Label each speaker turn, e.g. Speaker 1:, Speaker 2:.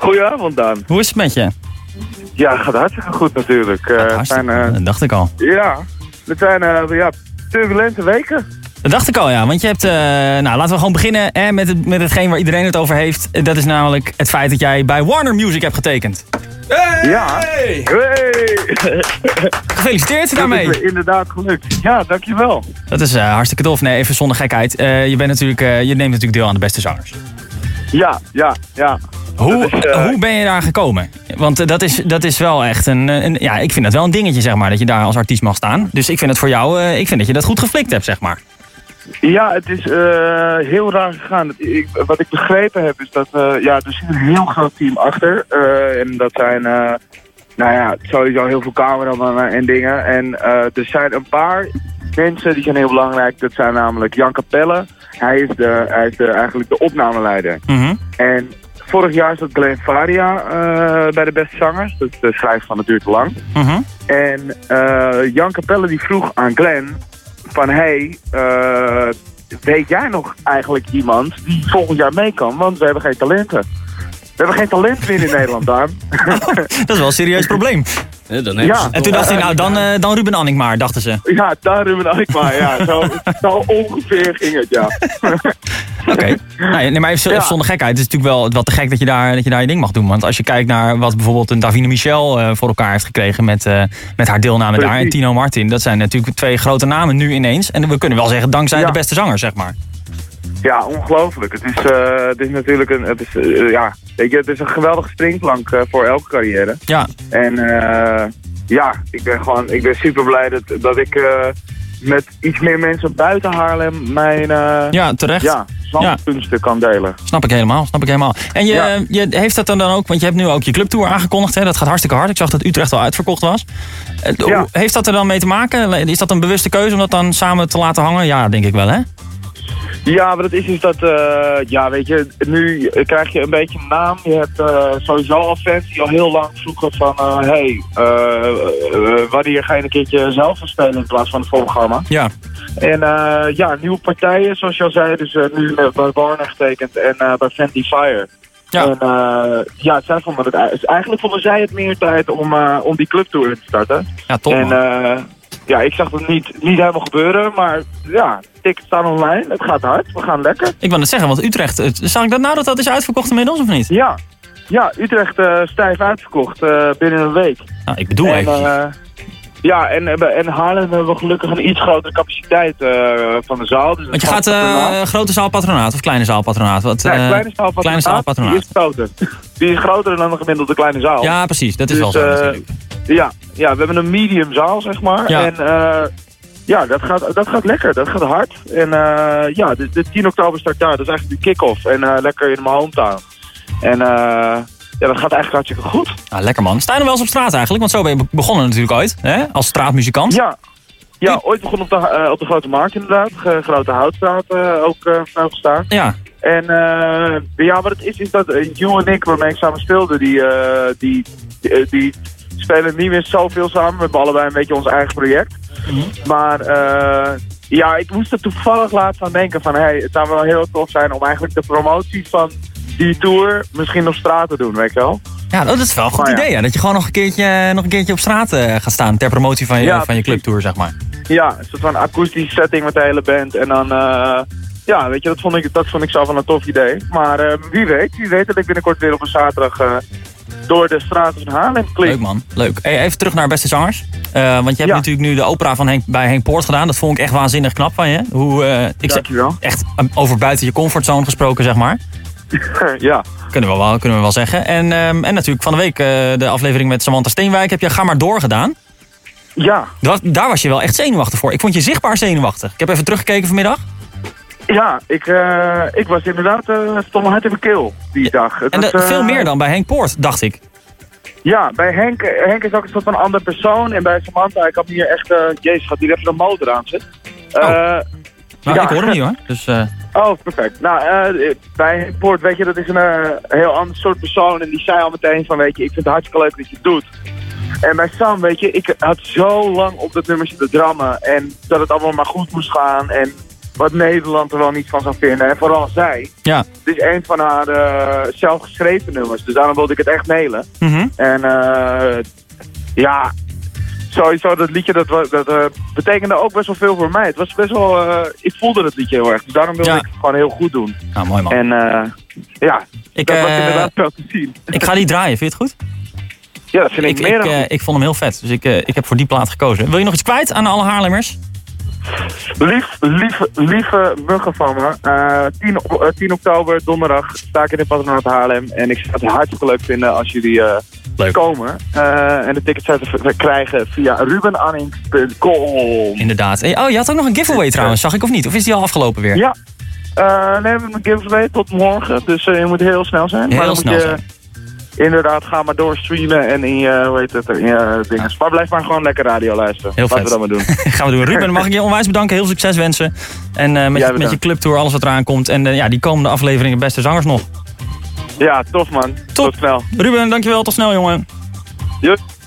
Speaker 1: Goedenavond, Daan.
Speaker 2: Hoe is het
Speaker 1: Eh,
Speaker 2: met je?
Speaker 1: Ja, gaat hartstikke goed natuurlijk. Eh, het zijn,
Speaker 2: Hartstikke-
Speaker 1: eh,
Speaker 2: Dat dacht ik al.
Speaker 1: ja, het zijn eh, ja, turbulente weken.
Speaker 2: Dat dacht ik al, ja. Want je hebt... eh, nou, laten we gewoon beginnen hè, met, het, met hetgeen waar iedereen het over heeft. Eh, Dat is namelijk het feit dat jij bij Warner Music hebt getekend.
Speaker 1: Ja. Hey!
Speaker 2: Gefeliciteerd
Speaker 1: Dat
Speaker 2: daarmee.
Speaker 1: is me inderdaad gelukt. Ja, dankjewel.
Speaker 2: Dat is eh, hartstikke tof. Nee, even zonder gekheid. Eh, je, bent natuurlijk, eh, je neemt natuurlijk deel aan de beste zangers.
Speaker 1: Ja, ja, ja.
Speaker 2: Hoe,
Speaker 1: Dat is, eh,
Speaker 2: hoe ben je daar gekomen? Want eh, dat, is, dat is wel echt een, eh, een... Ja, ik vind dat wel een dingetje, zeg maar. Dat je daar als artiest mag staan. Dus ik vind het voor jou... eh, ik vind dat je dat goed geflikt hebt, zeg maar.
Speaker 1: Ja, het is eh, heel raar gegaan. Het- ik- wat ik begrepen heb is dat eh, ja, er zit een heel groot team achter. Eh, en dat zijn eh, nou ja, sowieso heel veel cameramannen en dingen. En eh, er zijn een paar mensen die zijn heel belangrijk. Dat zijn namelijk Jan Capelle. Hij is, de, hij is de, eigenlijk de opnameleider.
Speaker 2: Mhm.
Speaker 1: En vorig jaar zat Glenn Faria eh, bij de Beste Zangers. Dat is de schrijver van Het Duurt Te Lang.
Speaker 2: mhm.
Speaker 1: En eh, Jan Capelle die vroeg aan Glenn van hey, eh, weet jij nog eigenlijk iemand die volgend jaar mee kan? Want we hebben geen talenten. We hebben geen talent meer in Nederland, Daan.
Speaker 2: Dat is wel een serieus probleem.
Speaker 3: Ja, dan hebben
Speaker 1: Ja.
Speaker 3: ze
Speaker 2: En
Speaker 3: het
Speaker 2: toen
Speaker 3: al.
Speaker 2: dacht hij, nou, dan, eh, dan Ruben Anning maar, dachten ze.
Speaker 1: Ja, daar Ruben Alkmaar, ja. Zo, zo ongeveer ging het, ja.
Speaker 2: Oké. Nee, nee, maar even, zo-
Speaker 1: Ja.
Speaker 2: even zonder gekheid. Het is natuurlijk wel, wel te gek dat je, daar, dat je daar je ding mag doen. Want als je kijkt naar wat bijvoorbeeld een Davine Michel eh, voor elkaar heeft gekregen met, eh, met haar deelname daar. En
Speaker 1: Precies.
Speaker 2: Tino Martin. Dat zijn natuurlijk twee grote namen nu ineens. En we kunnen wel zeggen, dankzij
Speaker 1: Ja.
Speaker 2: de beste zanger, zeg maar.
Speaker 1: Ja, ongelooflijk. Het is, eh, het is natuurlijk een, het is, eh, ja, weet je, het is een geweldige springplank eh, voor elke carrière.
Speaker 2: Ja,
Speaker 1: En eh, ja, ik ben gewoon ik ben super blij dat, dat ik eh, met iets meer mensen buiten Haarlem mijn eh
Speaker 2: ja terecht.
Speaker 1: ja, zangkunsten kan delen.
Speaker 2: Snap ik helemaal, snap ik helemaal. En je,
Speaker 1: Ja.
Speaker 2: je heeft dat dan, dan ook, want je hebt nu ook je clubtour aangekondigd. Hè? Dat gaat hartstikke hard. Ik zag dat Utrecht al uitverkocht was. Eh,
Speaker 1: Ja.
Speaker 2: hoe- Heeft dat er dan mee te maken? Is dat een bewuste keuze om dat dan samen te laten hangen? Ja, denk ik wel, hè?
Speaker 1: Ja, maar het is dus dat, eh, ja, weet je, nu krijg je een beetje een naam. Je hebt eh, sowieso al fans die al heel lang zoeken van, eh, hey, eh, eh, wanneer ga je een keertje zelf gaan spelen in plaats van het voorprogramma?
Speaker 2: Ja.
Speaker 1: En eh, ja, nieuwe partijen, zoals je al zei, dus eh, nu eh, bij Warner getekend en eh, bij Fendi Fire.
Speaker 2: Ja.
Speaker 1: En eh, ja, zij vonden het, ei- eigenlijk vonden zij het meer tijd om, eh, om die clubtour te starten.
Speaker 2: Ja, top.
Speaker 1: en
Speaker 2: man.
Speaker 1: eh, ja, ik zag het niet, niet helemaal gebeuren, maar ja, tickets staan online, het gaat hard, we gaan lekker.
Speaker 2: Ik wil net zeggen, want Utrecht, het- zag ik dat nou dat dat is uitverkocht inmiddels of niet?
Speaker 1: Ja, ja Utrecht eh, stijf uitverkocht eh, binnen een week.
Speaker 2: Nou, ik bedoel
Speaker 1: en,
Speaker 2: even.
Speaker 1: eh, ja, en, eh, bij- en Haarlem hebben we gelukkig een iets grotere capaciteit eh, van de zaal. Dus
Speaker 2: want je
Speaker 1: het
Speaker 2: gaat eh grote zaalpatronaat of kleine zaalpatronaat? Wat,
Speaker 1: Nee,
Speaker 2: eh,
Speaker 1: kleine zaal van
Speaker 2: kleine zaal
Speaker 1: die is groter. Die is groter dan een gemiddelde kleine zaal.
Speaker 2: ja, precies. Dat is
Speaker 1: Dus,
Speaker 2: wel zo
Speaker 1: eh,
Speaker 2: natuurlijk.
Speaker 1: ja, ja, we hebben een medium zaal, zeg maar.
Speaker 2: Ja.
Speaker 1: En eh, ja, dat gaat, dat gaat lekker, dat gaat hard. En eh, ja, de, de 10 oktober start daar, dat is eigenlijk de kick-off. En eh, lekker in mijn hometown. En eh, ja, dat gaat eigenlijk hartstikke goed.
Speaker 2: Ah, lekker man. Sta je nog wel eens op straat eigenlijk? Want zo ben je be- begonnen natuurlijk ooit, hè? Als straatmuzikant.
Speaker 1: Ja. Ja, ooit begon op de, eh, op de Grote Markt inderdaad. Ge- grote Houtstraat eh, ook eh vanaf gestaan.
Speaker 2: Ja.
Speaker 1: En eh, ja, wat het is, is dat eh, Joe en ik, waarmee ik samen speelde, die, eh, die, die, eh, die spelen niet meer zoveel samen. We hebben allebei een beetje ons eigen project. Maar eh, ja, ik moest er toevallig laatst aan denken van, hey, het zou wel heel tof zijn om eigenlijk de promotie van die tour misschien op straat te doen, weet je wel?
Speaker 2: Ja, dat is wel een goed
Speaker 1: Maar ja.
Speaker 2: idee. Ja. Dat je gewoon nog een keertje, nog een keertje op straat eh, gaat staan. Ter promotie van je,
Speaker 1: Ja,
Speaker 2: van je
Speaker 1: precies.
Speaker 2: clubtour, zeg maar.
Speaker 1: Ja, een soort van akoestische setting met de hele band. En dan, eh, ja, weet je, dat vond ik, dat vond ik zelf wel een tof idee. Maar eh, wie weet, wie weet dat ik binnenkort weer op een zaterdag eh, door de straten van Haarlem klink.
Speaker 2: Leuk man, leuk. Hey, even terug naar Beste Zangers. Eh, want je hebt
Speaker 1: Ja.
Speaker 2: natuurlijk nu de opera van Henk, bij Henk Poort gedaan. Dat vond ik echt waanzinnig knap van je. Hoe, eh, ik, zeg-
Speaker 1: Dankjewel.
Speaker 2: echt eh, over buiten je comfortzone gesproken, zeg maar.
Speaker 1: ja.
Speaker 2: Kunnen we wel, kunnen we wel zeggen. En, ehm, en natuurlijk van de week eh, de aflevering met Samantha Steenwijk heb je Ga maar door gedaan.
Speaker 1: Ja.
Speaker 2: Dat, daar was je wel echt zenuwachtig voor. Ik vond je zichtbaar zenuwachtig. Ik heb even teruggekeken vanmiddag.
Speaker 1: Ja, ik, eh, ik was inderdaad eh stom hard in mijn keel die dag. Het
Speaker 2: En
Speaker 1: was,
Speaker 2: dat-
Speaker 1: eh,
Speaker 2: veel meer dan bij Henk Poort, dacht ik.
Speaker 1: Ja, bij Henk, Henk is ook een soort van ander persoon. En bij Samantha, ik had hier echt... eh, jezus, gaat hier even de motor aan zitten.
Speaker 2: Oh.
Speaker 1: Eh,
Speaker 2: Maar
Speaker 1: Ja.
Speaker 2: ik hoor hem niet hoor. Dus, eh,
Speaker 1: Oh, perfect. Nou, eh, bij Poort, weet je, dat is een eh, heel ander soort persoon. En die zei al meteen van, weet je, ik vind het hartstikke leuk dat je het doet. En bij Sam, weet je, ik had zo lang op dat nummer zitten drammen. En dat het allemaal maar goed moest gaan. En wat Nederland er wel niet van zou vinden. En vooral zij.
Speaker 2: Ja.
Speaker 1: Het is een van haar eh, zelfgeschreven nummers. Dus daarom wilde ik het echt mailen.
Speaker 2: Mhm.
Speaker 1: En eh, ja, sowieso dat liedje dat, wa- dat eh, betekende ook best wel veel voor mij. Het was best wel, eh, ik voelde het liedje heel erg. Dus daarom wilde
Speaker 2: Ja.
Speaker 1: ik het gewoon heel goed doen.
Speaker 2: Nou, mooi man.
Speaker 1: En eh, ja,
Speaker 2: Ik,
Speaker 1: dat was
Speaker 2: eh,
Speaker 1: inderdaad wel te zien.
Speaker 2: ik ga die draaien, vind je het goed?
Speaker 1: Ja, dat vind ik,
Speaker 2: Ik,
Speaker 1: meer
Speaker 2: ik,
Speaker 1: dan
Speaker 2: eh, ik vond hem heel vet, dus ik, eh, ik heb voor die plaat gekozen. Wil je nog iets kwijt aan alle Haarlemmers?
Speaker 1: Lief, lieve, lieve muggen van me. Eh, 10, o- eh, 10 oktober, donderdag, sta ik in de patronaat Haarlem. En ik zou het hartstikke leuk vinden als jullie eh,
Speaker 2: Leuk.
Speaker 1: komen. Eh, en de tickets zijn te ver- krijgen via rubenanning.com.
Speaker 2: Inderdaad. Eh, Oh, je had ook nog een giveaway trouwens, zag ik of niet? Of is die al afgelopen weer?
Speaker 1: Ja. Eh nee, we hebben een giveaway tot morgen. Dus eh, je moet heel snel zijn.
Speaker 2: Heel
Speaker 1: maar dan
Speaker 2: snel
Speaker 1: moet je,
Speaker 2: zijn.
Speaker 1: Inderdaad, ga maar door streamen en in je, hoe heet het, in je dingen. Maar blijf maar gewoon lekker radio luisteren.
Speaker 2: Heel
Speaker 1: Laten we
Speaker 2: vet.
Speaker 1: dat maar doen.
Speaker 2: Gaan we doen. Ruben, mag ik je onwijs bedanken. Heel veel succes wensen. En eh, met,
Speaker 1: Jij
Speaker 2: je, met je
Speaker 1: bedankt.
Speaker 2: clubtour, alles wat eraan komt. En eh, ja, die komende afleveringen Beste Zangers nog.
Speaker 1: ja, tof man. Tot snel.
Speaker 2: Ruben, dankjewel. Tot snel, jongen.
Speaker 1: Joep.